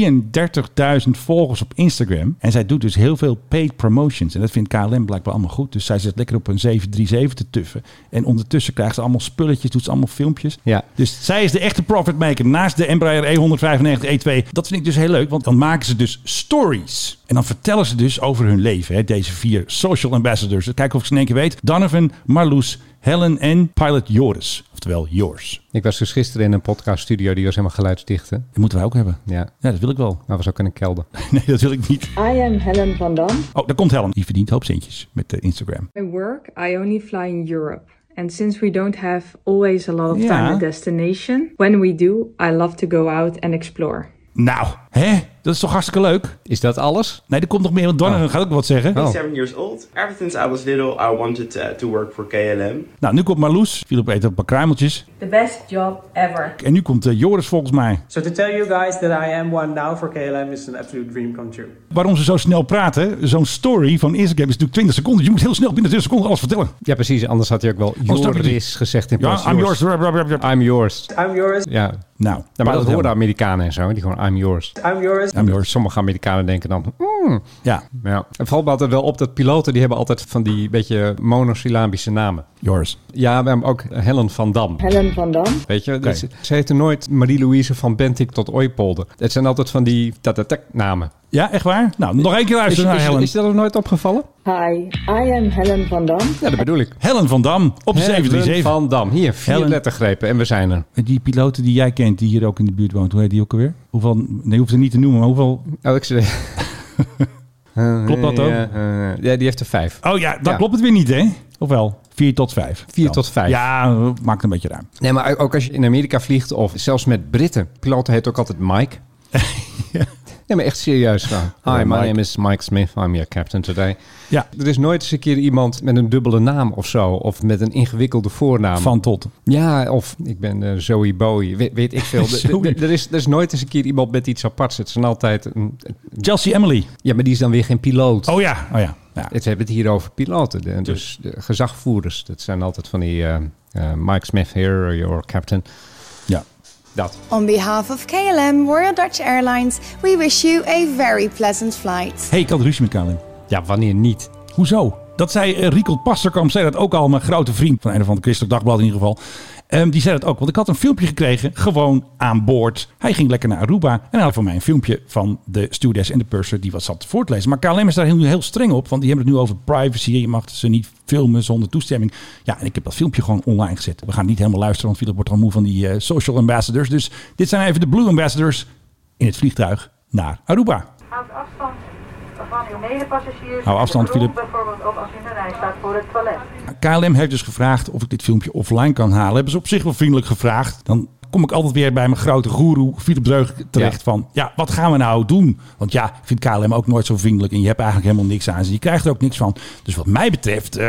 Speaker 4: 133.000 volgers op Instagram. En zij doet dus heel veel paid promotions. En dat vindt KLM blijkbaar allemaal goed. Dus zij zit lekker op een 737 te tuffen. En ondertussen krijgt ze allemaal spulletjes, doet ze allemaal filmpjes.
Speaker 5: Ja.
Speaker 4: Dus zij is de echte profitmaker naast de Embraer E E195 E2. Dat vind ik dus heel leuk, want dan maken ze dus stories. En dan vertellen ze dus over hun leven, hè, deze vier social ambassadors. Kijken of ik ze in één keer weet. Donovan, Marloes, Helen en pilot Joris. Oftewel Joris.
Speaker 5: Ik was dus gisteren in een podcaststudio. Die was helemaal geluidsdicht. hè?
Speaker 4: Dat moeten wij ook hebben.
Speaker 5: Ja.
Speaker 4: Ja, dat wil ik wel.
Speaker 5: Maar was ook in een kelder.
Speaker 4: Nee, dat wil ik niet.
Speaker 2: I am Helen van Dam.
Speaker 4: Oh, daar komt Helen. Die verdient hoop centjes met de Instagram.
Speaker 10: My work, I only fly in Europe. And since we don't have always a lot of
Speaker 4: Ja.
Speaker 10: time at destination, when we do, I love to go out and explore.
Speaker 4: Nou, hè? Dat is toch hartstikke leuk?
Speaker 5: Is dat alles?
Speaker 4: Nee, er komt nog meer. Want Donovan gaat ook wat zeggen.
Speaker 5: Oh.
Speaker 10: Seven years old. Ever since I was little, I wanted to, to work for KLM.
Speaker 4: Nou, nu komt Marloes. Philip eet een paar kruimeltjes.
Speaker 2: The best job ever.
Speaker 4: En nu komt eh, Joris volgens mij.
Speaker 10: So to tell you guys that I am one now for KLM is an absolute dream come true.
Speaker 4: Waarom ze zo snel praten, zo'n story van Instagram is natuurlijk 20 seconden. Je moet heel snel binnen 20 seconden alles vertellen.
Speaker 5: Ja, precies. Anders had hij ook wel
Speaker 4: snap ik
Speaker 5: Joris
Speaker 4: niet.
Speaker 5: gezegd in plaats
Speaker 4: Ja,
Speaker 5: van
Speaker 4: I'm yours. Rup, rup, rup, rup.
Speaker 5: I'm yours.
Speaker 10: I'm yours.
Speaker 5: Ah. Ja. Nou,
Speaker 4: Nou,
Speaker 5: maar dat horen
Speaker 4: helemaal.
Speaker 5: Amerikanen en zo. hè, Die gewoon I'm yours.
Speaker 10: I'm yours.
Speaker 4: I'm yours.
Speaker 5: Sommige Amerikanen denken dan... mm.
Speaker 4: Ja,
Speaker 5: Ja. Het valt me altijd wel op dat piloten... die hebben altijd van die beetje monosyllabische namen.
Speaker 4: Joris.
Speaker 5: Ja, we hebben ook Helen van Dam.
Speaker 2: Helen van Dam.
Speaker 5: Weet je, Dus ze heette nooit Marie-Louise van Bentik tot Ooipolder. Het zijn altijd van die tatatek namen.
Speaker 4: Ja, echt waar? Nou, nog één keer
Speaker 5: Is,
Speaker 4: luisteren
Speaker 5: is,
Speaker 4: naar
Speaker 5: is,
Speaker 4: Helen.
Speaker 5: dat nog nooit opgevallen?
Speaker 2: Hi, I am Helen van Dam.
Speaker 5: Ja, dat bedoel ik.
Speaker 4: Helen van Dam op de
Speaker 5: Helen
Speaker 4: 737.
Speaker 5: van Dam. Hier, vier
Speaker 4: Helen.
Speaker 5: lettergrepen en we zijn er.
Speaker 4: En Die piloten die jij kent, die hier ook in de buurt woont, hoe heet die ook alweer? Hoeveel, nee, je hoeft het niet te noemen, maar hoeveel...
Speaker 5: Oh, ik zei...
Speaker 4: Klopt dat ook?
Speaker 5: Ja, eh, ja, die heeft er vijf.
Speaker 4: Oh ja, dan
Speaker 5: Ja.
Speaker 4: klopt het weer niet, hè? Of wel? 4 tot 5.
Speaker 5: Vier tot vijf.
Speaker 4: Ja, maakt een beetje ruim.
Speaker 5: Nee, maar ook als je in Amerika vliegt of zelfs met Britten. Piloten heet ook altijd Mike. Nee, maar echt serieus. nou. Hi, my
Speaker 4: Mike.
Speaker 5: name is Mike Smith. I'm your captain today.
Speaker 4: Ja,
Speaker 5: Er is nooit eens een keer iemand met een dubbele naam of zo. Of met een ingewikkelde voornaam.
Speaker 4: van tot.
Speaker 5: Ja, of ik ben eh Zoe Bowie. Weet, weet ik veel. De-
Speaker 4: Zoe.
Speaker 5: de- de- er, is, er is nooit eens een keer iemand met iets aparts. Het zijn altijd... Een,
Speaker 4: Chelsea Emily.
Speaker 5: ja, maar die is dan weer geen piloot.
Speaker 4: Oh ja, oh ja. ja.
Speaker 5: Het hebben het hier over piloten. De- dus de gezagvoerders. Dat zijn altijd van die... eh, eh, Mike Smith here, your captain.
Speaker 4: ja.
Speaker 5: Dat.
Speaker 8: On behalf of KLM Royal Dutch Airlines, we wish you a very pleasant flight.
Speaker 4: hey, ik had ruzie met Kalim.
Speaker 5: Ja, wanneer niet?
Speaker 4: Hoezo? Dat zei eh, Riekel Pasterkamp, zei dat ook al, mijn grote vriend van een of ander Christelijk Dagblad in ieder geval. Ehm, die zei dat ook, want ik had een filmpje gekregen, gewoon aan boord. Hij ging lekker naar Aruba en hij had voor mij een filmpje van de stewardess en de purser die wat zat voor te lezen. Maar KLM is daar heel, heel streng op, want die hebben het nu over privacy. Je mag ze niet filmen zonder toestemming. Ja, en ik heb dat filmpje gewoon online gezet. We gaan niet helemaal luisteren, want Philip wordt al moe van die eh, social ambassadors. Dus dit zijn even de blue ambassadors in het vliegtuig naar Aruba.
Speaker 11: Houd afstand van uw medepassagiers.
Speaker 4: Hou afstand,
Speaker 11: De groep
Speaker 4: Filip.
Speaker 11: Bijvoorbeeld ook als u in de rij staat voor het toilet.
Speaker 4: KLM heeft dus gevraagd of ik dit filmpje offline kan halen. Hebben ze op zich wel vriendelijk gevraagd. Dan kom ik altijd weer bij mijn grote goeroe Philip Dreug terecht
Speaker 5: Ja.
Speaker 4: van... ja, wat gaan we nou doen? Want ja, ik vind KLM ook nooit zo vriendelijk... en je hebt eigenlijk helemaal niks aan ze. Je krijgt er ook niks van. Dus wat mij betreft, eh,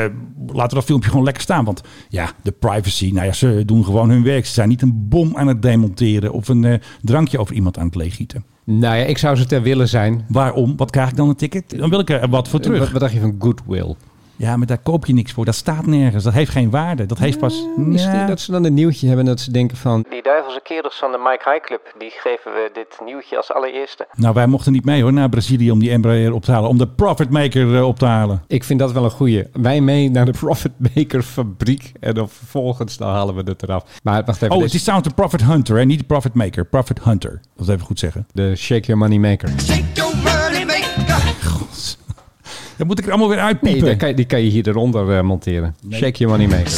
Speaker 4: laten we dat filmpje gewoon lekker staan. Want ja, de privacy, nou ja, ze doen gewoon hun werk. Ze zijn niet een bom aan het demonteren... of een eh, drankje over iemand aan het leeggieten.
Speaker 5: Nou ja, ik zou ze ter willen zijn.
Speaker 4: Waarom? Wat krijg ik dan een ticket? Dan wil ik er wat voor
Speaker 5: Wat,
Speaker 4: terug.
Speaker 5: Eh, wat dacht je van goodwill?
Speaker 4: Ja, maar daar koop je niks voor. Dat staat nergens. Dat heeft geen waarde. Dat heeft pas...
Speaker 5: Is
Speaker 4: Ja.
Speaker 5: het dat ze dan een nieuwtje hebben dat ze denken van...
Speaker 12: Die duivelse kerels van de Mike High Club, die geven we dit nieuwtje als allereerste.
Speaker 4: Nou, wij mochten niet mee hoor, naar Brazilië om die Embraer op te halen. Om de Profitmaker eh, op te halen.
Speaker 5: Ik vind dat wel een goeie. Wij mee naar de Profitmaker fabriek en dan vervolgens dan halen we het eraf. Maar wacht even,
Speaker 4: Oh,
Speaker 5: dit
Speaker 4: het is trouwens de Profit Hunter, hè? niet de Profitmaker. Profit Hunter. Dat even goed zeggen.
Speaker 5: de Shake Your Money Maker.
Speaker 4: Dat moet ik er allemaal weer
Speaker 5: Nee,
Speaker 4: uitpiepen.
Speaker 5: daar kan je- die kan je hier eronder eh, monteren. Shake Your Money Maker.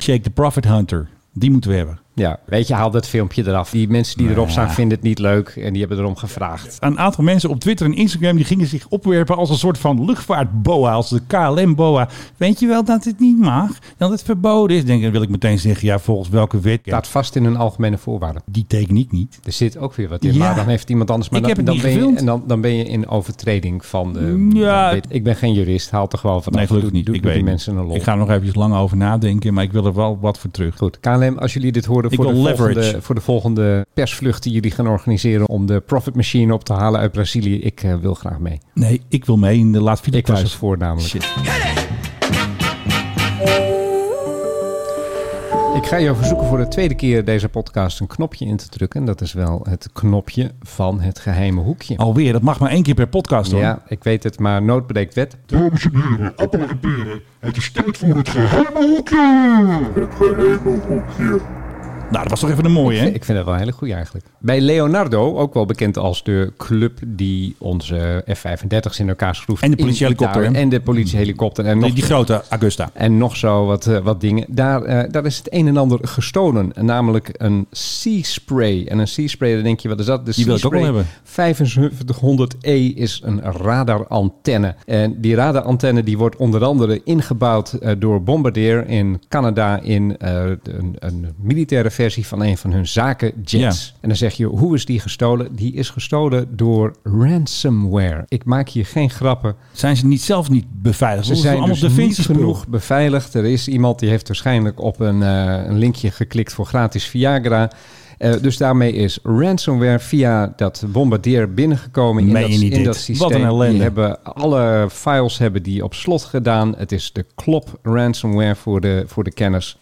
Speaker 4: Shake the Profit Hunter. Die moeten we hebben.
Speaker 5: Ja, weet je, haal dat filmpje eraf. Die mensen
Speaker 4: Nou
Speaker 5: die erop staan vinden het niet leuk en die hebben erom gevraagd.
Speaker 4: Een aantal mensen op Twitter en Instagram die gingen zich opwerpen als een soort van luchtvaartboa, als de KLM-boa. Weet je wel dat het niet mag? Dat het verboden is? Denk, ik, dan wil ik meteen zeggen, ja, volgens welke wet? Ja,
Speaker 5: Staat vast in hun algemene voorwaarden.
Speaker 4: die teken ik niet.
Speaker 5: Er zit ook weer wat in,
Speaker 4: Ja.
Speaker 5: maar dan heeft iemand anders... Maar
Speaker 4: Ik
Speaker 5: dan,
Speaker 4: heb het
Speaker 5: dan
Speaker 4: niet
Speaker 5: ben je,
Speaker 4: gefilmd. Mm,
Speaker 5: En dan, dan ben je in overtreding van de...
Speaker 4: Ja.
Speaker 5: van dit. Ik ben geen jurist, haal het er gewoon vanaf.
Speaker 4: Nee, gelukkig
Speaker 5: Doe-
Speaker 4: niet.
Speaker 5: doe-
Speaker 4: ik
Speaker 5: doe
Speaker 4: weet
Speaker 5: die
Speaker 4: het.
Speaker 5: mensen een lol.
Speaker 4: Ik ga er nog even lang over nadenken, maar ik wil er wel wat voor terug.
Speaker 5: Goed, KLM, als jullie dit horen
Speaker 4: Ik
Speaker 5: voor de,
Speaker 4: wil leverage.
Speaker 5: volgende, voor de volgende persvlucht die jullie gaan organiseren om de profit machine op te halen uit Brazilië, ik eh, wil graag mee.
Speaker 4: Nee, ik wil mee in de laat video
Speaker 5: Ik was
Speaker 4: thuis.
Speaker 5: het voor namelijk. Ik ga jou verzoeken voor de tweede keer deze podcast een knopje in te drukken. En dat is wel het knopje van het geheime hoekje.
Speaker 4: Alweer, dat mag maar één keer per podcast hoor.
Speaker 5: ja, ik weet het, maar nood breekt wet.
Speaker 7: Dames en heren, appelen en peren. Het is tijd voor het geheime hoekje. Het geheime hoekje.
Speaker 4: Nou, dat was toch even een mooie, hè?
Speaker 5: Ik vind dat wel een hele goeie eigenlijk. Bij Leonardo, ook wel bekend als de club die onze F-35's in elkaar schroeft.
Speaker 4: En de
Speaker 5: in
Speaker 4: politiehelikopter,
Speaker 5: Italië.
Speaker 4: hè?
Speaker 5: En de politiehelikopter. En nog
Speaker 4: Die, die grote Augusta.
Speaker 5: En nog zo wat, eh, wat dingen. Daar, eh, daar is het een en ander gestolen. Namelijk een sea spray. En een sea spray, dan denk je, wat is dat? De
Speaker 4: Die wil ik ook wel hebben.
Speaker 5: 7500E E is een radarantenne. En die radarantenne die wordt onder andere ingebouwd eh, door Bombardier in Canada... in eh, een, een militaire versie van een van hun zakenjets. En dan zeg je, hoe is die gestolen? Die is gestolen door ransomware. Ik maak hier geen grappen.
Speaker 4: Zijn ze niet zelf niet beveiligd?
Speaker 5: Ze
Speaker 4: Ze
Speaker 5: zijn
Speaker 4: allemaal
Speaker 5: dus
Speaker 4: de
Speaker 5: niet genoeg beveiligd. Er is iemand die heeft waarschijnlijk op een, eh, een linkje geklikt voor gratis Viagra. Eh, dus daarmee is ransomware via dat bombardeer binnengekomen
Speaker 4: Meen
Speaker 5: in,
Speaker 4: je
Speaker 5: dat,
Speaker 4: niet
Speaker 5: in
Speaker 4: dit?
Speaker 5: dat systeem.
Speaker 4: Wat een ellende.
Speaker 5: Die hebben alle files hebben die op slot gedaan. Het is de klop ransomware voor de, voor de kenners.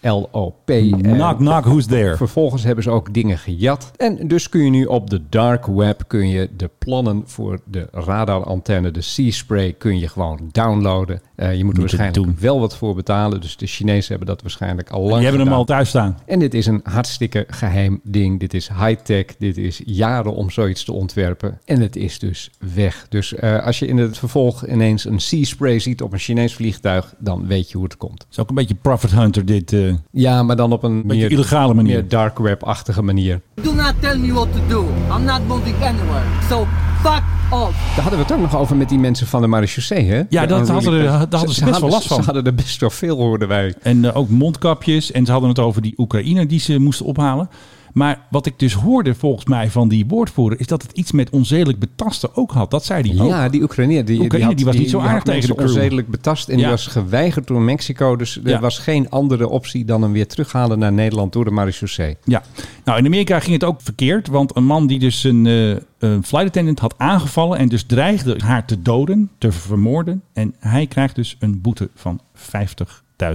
Speaker 5: CLOP. Eh,
Speaker 4: Knock, knock, who's there?
Speaker 5: Vervolgens hebben ze ook dingen gejat. En dus kun je nu op de dark web kun je de plannen voor de radarantenne, de Sea Spray, kun je gewoon downloaden. Eh, je moet er waarschijnlijk
Speaker 4: doen.
Speaker 5: wel wat voor betalen. Dus de Chinezen hebben dat waarschijnlijk al lang
Speaker 4: Die hebben hem al
Speaker 5: gedaan.
Speaker 4: thuis staan.
Speaker 5: En dit is een hartstikke geheim ding. Dit is high-tech. Dit is jaren om zoiets te ontwerpen. En het is dus weg. Dus eh, als je in het vervolg ineens een sea spray ziet op een Chinees vliegtuig, dan weet je hoe het komt.
Speaker 4: is ook een beetje Profit Hunter dit. eh,
Speaker 5: Ja, maar dan op een
Speaker 4: Beetje
Speaker 5: meer-
Speaker 4: illegale manier.
Speaker 5: meer dark web-achtige manier.
Speaker 13: Do not tell me what to do. I'm not moving anywhere. So fuck off.
Speaker 5: Daar hadden we het ook nog over met die mensen van de marechaussee, hè?
Speaker 4: Ja, dat
Speaker 5: Aan
Speaker 4: hadden
Speaker 5: Roelie.
Speaker 4: er- daar hadden ze best wel last van.
Speaker 5: Ze hadden er best wel veel, hoorden wij.
Speaker 4: en eh, ook mondkapjes. En ze hadden het over die Oekraïner die ze moesten ophalen. Maar wat ik dus hoorde volgens mij van die woordvoerder... is dat het iets met onzedelijk betasten ook had. Dat zei die ook.
Speaker 5: Ja, die Oekraïner, die,
Speaker 4: Oekraïner, die was niet zo aardig
Speaker 5: had
Speaker 4: tegen
Speaker 5: mensen
Speaker 4: de crew.
Speaker 5: onzedelijk betast en die
Speaker 4: Ja.
Speaker 5: was geweigerd door Mexico. Dus er
Speaker 4: Ja.
Speaker 5: was geen andere optie dan hem weer terughalen naar Nederland door de marechaussee.
Speaker 4: Ja, nou in Amerika ging het ook verkeerd, want een man die dus een, eh, een flight attendant had aangevallen en dus dreigde haar te doden, te vermoorden. En hij krijgt dus een boete van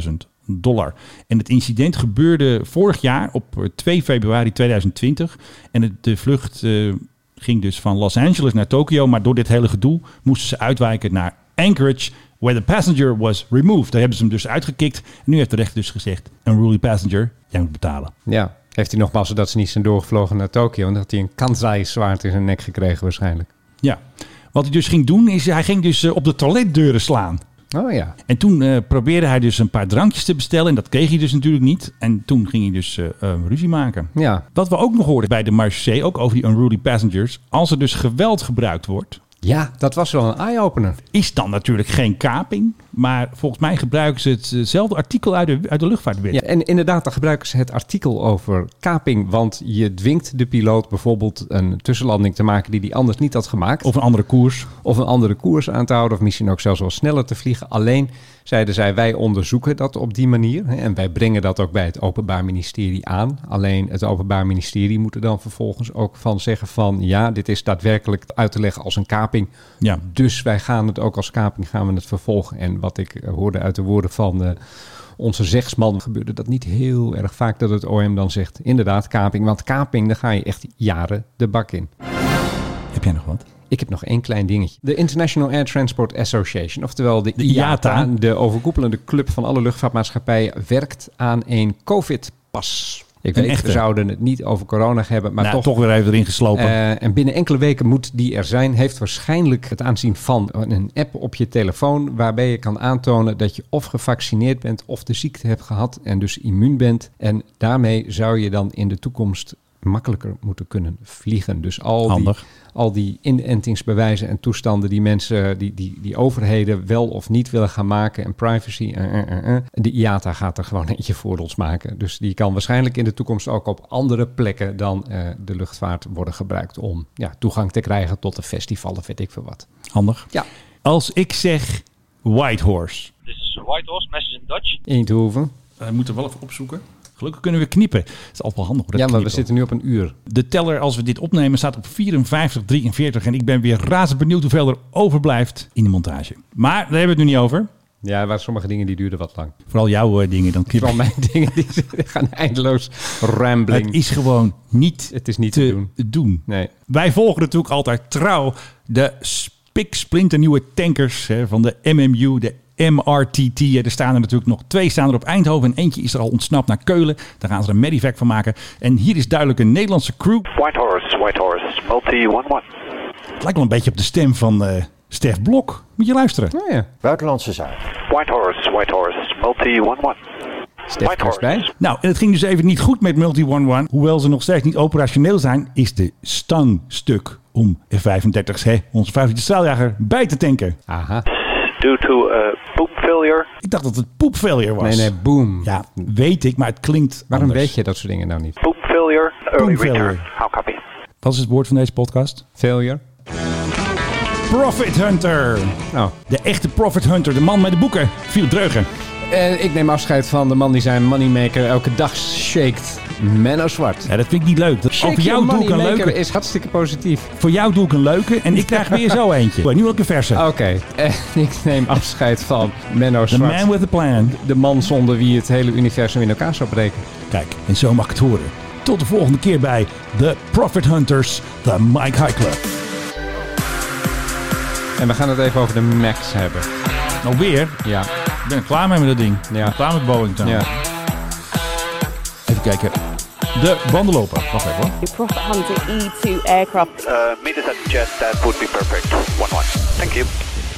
Speaker 4: 50.000 dollar. En het incident gebeurde vorig jaar op eh, 2 februari 2020. En het, de vlucht eh, ging dus van Los Angeles naar Tokio, maar door dit hele gedoe moesten ze uitwijken naar Anchorage, where the passenger was removed. Daar hebben ze hem dus uitgekikt. En nu heeft de rechter dus gezegd, een ruly passenger, jij moet betalen.
Speaker 5: Ja, heeft hij nogmaals zodat ze niet zijn doorgevlogen naar Tokio. Want dan had hij een kansai zwaard in zijn nek gekregen waarschijnlijk.
Speaker 4: Ja, wat hij dus ging doen is, hij ging dus eh, op de toiletdeuren slaan.
Speaker 5: Oh ja.
Speaker 4: En toen eh, probeerde hij dus een paar drankjes te bestellen. En dat kreeg hij dus natuurlijk niet. En toen ging hij dus eh, eh, ruzie maken.
Speaker 5: Ja.
Speaker 4: Wat we ook nog hoorden bij de Marseille, ook over die unruly passengers. Als er dus geweld gebruikt wordt.
Speaker 5: Ja, dat was wel een eye-opener.
Speaker 4: Is dan natuurlijk geen kaping. Maar volgens mij gebruiken ze hetzelfde artikel uit de, uit de luchtvaartwet.
Speaker 5: Ja, en inderdaad, dan gebruiken ze het artikel over kaping. Want je dwingt de piloot bijvoorbeeld een tussenlanding te maken die hij anders niet had gemaakt.
Speaker 4: Of een andere koers.
Speaker 5: Of een andere koers aan te houden. Of misschien ook zelfs wel sneller te vliegen. Alleen zeiden zij, wij onderzoeken dat op die manier. hè, En wij brengen dat ook bij het Openbaar Ministerie aan. Alleen het Openbaar Ministerie moet er dan vervolgens ook van zeggen van... ja, dit is daadwerkelijk uit te leggen als een kaping.
Speaker 4: Ja.
Speaker 5: Dus wij gaan het ook als kaping gaan we het vervolgen. En wat ik eh, hoorde uit de woorden van... eh, onze zegsman gebeurde dat niet heel erg vaak dat het OM dan zegt. Inderdaad, kaping. Want kaping, daar ga je echt jaren de bak in.
Speaker 4: Heb jij nog wat?
Speaker 5: Ik heb nog één klein dingetje. De International Air Transport Association, oftewel de,
Speaker 4: De
Speaker 5: IATA,
Speaker 4: IATA.
Speaker 5: de overkoepelende club van alle luchtvaartmaatschappijen, werkt aan een COVID-pas. Ik
Speaker 4: Een
Speaker 5: weet,
Speaker 4: echte.
Speaker 5: we zouden het niet over corona hebben, maar
Speaker 4: Nou,
Speaker 5: toch...
Speaker 4: toch weer even erin geslopen.
Speaker 5: Eh, en binnen enkele weken moet die er zijn. Heeft waarschijnlijk het aanzien van een app op je telefoon. waarbij je kan aantonen dat je of gevaccineerd bent. of de ziekte hebt gehad en dus immuun bent. En daarmee zou je dan in de toekomst makkelijker moeten kunnen vliegen. Dus al
Speaker 4: Handig.
Speaker 5: die. Al die inentingsbewijzen en toestanden die mensen, die, die, die overheden wel of niet willen gaan maken en privacy. eh, eh, eh, eh. De IATA gaat er gewoon eentje voor ons maken. Dus die kan waarschijnlijk in de toekomst ook op andere plekken dan eh, de luchtvaart worden gebruikt om ja, toegang te krijgen tot de festival of weet ik veel wat.
Speaker 4: Handig.
Speaker 5: Ja.
Speaker 4: Als ik zeg Whitehorse.
Speaker 14: This is White Horse, message in Dutch.
Speaker 5: Eindhoven.
Speaker 4: Eh, We moeten wel even opzoeken. Gelukkig kunnen we knippen. Het is altijd wel handig. hoor, dat
Speaker 5: Ja, maar we
Speaker 4: knippen.
Speaker 5: zitten nu op een uur.
Speaker 4: De teller als we dit opnemen staat op 54, 43. En ik ben weer razend benieuwd hoeveel er overblijft in de montage. Maar daar hebben we het nu niet over.
Speaker 5: Ja, waar sommige dingen die duurden wat lang.
Speaker 4: Vooral jouw eh, dingen dan knippen.
Speaker 5: Vooral mijn dingen die gaan eindeloos rambling.
Speaker 4: Het is gewoon niet,
Speaker 5: Het is niet
Speaker 4: te,
Speaker 5: te doen.
Speaker 4: doen.
Speaker 5: Nee.
Speaker 4: Wij volgen natuurlijk altijd trouw de spiksplinternieuwe tankers hè, van de MMU, de MRTT. Ja, Er staan er natuurlijk nog twee staan er op Eindhoven en eentje is er al ontsnapt naar Keulen. Daar gaan ze een medivac van maken. En hier is duidelijk een Nederlandse crew.
Speaker 3: White Horse, White Horse, multi 1-1.
Speaker 4: Het lijkt wel een beetje op de stem van eh Stef Blok. Moet je luisteren.
Speaker 5: Nou ja,
Speaker 3: Buitenlandse zaak. White Horse, White Horse, multi 1-1.
Speaker 5: Stef
Speaker 3: White
Speaker 5: komt bij.
Speaker 4: Nou, en het ging dus even niet goed met Multi One One. Hoewel ze nog steeds niet operationeel zijn, is de stang stuk om F-35's, hè, onze 5 straaljager, bij te tanken.
Speaker 5: Aha.
Speaker 3: Due to a boom failure,
Speaker 4: Ik dacht dat het poepfailure was.
Speaker 5: Nee, nee, boom.
Speaker 4: Ja, weet ik, maar het klinkt
Speaker 5: Waarom
Speaker 4: anders.
Speaker 5: weet je dat soort dingen nou niet?
Speaker 3: boom failure, early
Speaker 4: Boom failure.
Speaker 3: return. How copy?
Speaker 4: Wat is het woord van deze podcast?
Speaker 5: Failure?
Speaker 4: Profit Hunter.
Speaker 5: Nou,
Speaker 4: De echte Profit Hunter, de man met de boeken, Philip Dreugen.
Speaker 5: Eh, ik neem afscheid van de man die zijn moneymaker elke dag shaked. Menno Zwart.
Speaker 4: Ja, dat vind ik niet leuk. Dat,
Speaker 5: Shake
Speaker 4: voor jou
Speaker 5: your
Speaker 4: doe ik een
Speaker 5: moneymaker
Speaker 4: leuke.
Speaker 5: is hartstikke positief.
Speaker 4: Voor jou doe ik een leuke en ik krijg weer zo eentje. Maar Nu wil ik een verse.
Speaker 5: Oké, en ik neem afscheid van Menno
Speaker 4: The
Speaker 5: Zwart.
Speaker 4: man with a plan.
Speaker 5: de man zonder wie het hele universum in elkaar zou breken.
Speaker 4: Kijk, en zo mag ik het horen. Tot de volgende keer bij The Profit Hunters, de Mike High Club.
Speaker 5: En we gaan het even over de Max hebben.
Speaker 4: Nou weer,
Speaker 5: Ja,
Speaker 4: ik ben er klaar mee met dat ding. Ik
Speaker 5: Ja.
Speaker 4: ben klaar met Boeing dan.
Speaker 5: ja.
Speaker 4: Even kijken. De bandenloper. Wacht even hoor.
Speaker 15: Your Prophet Hunter E2 aircraft
Speaker 3: Uh, meet us at jet, that would be perfect. 1-1. Thank you.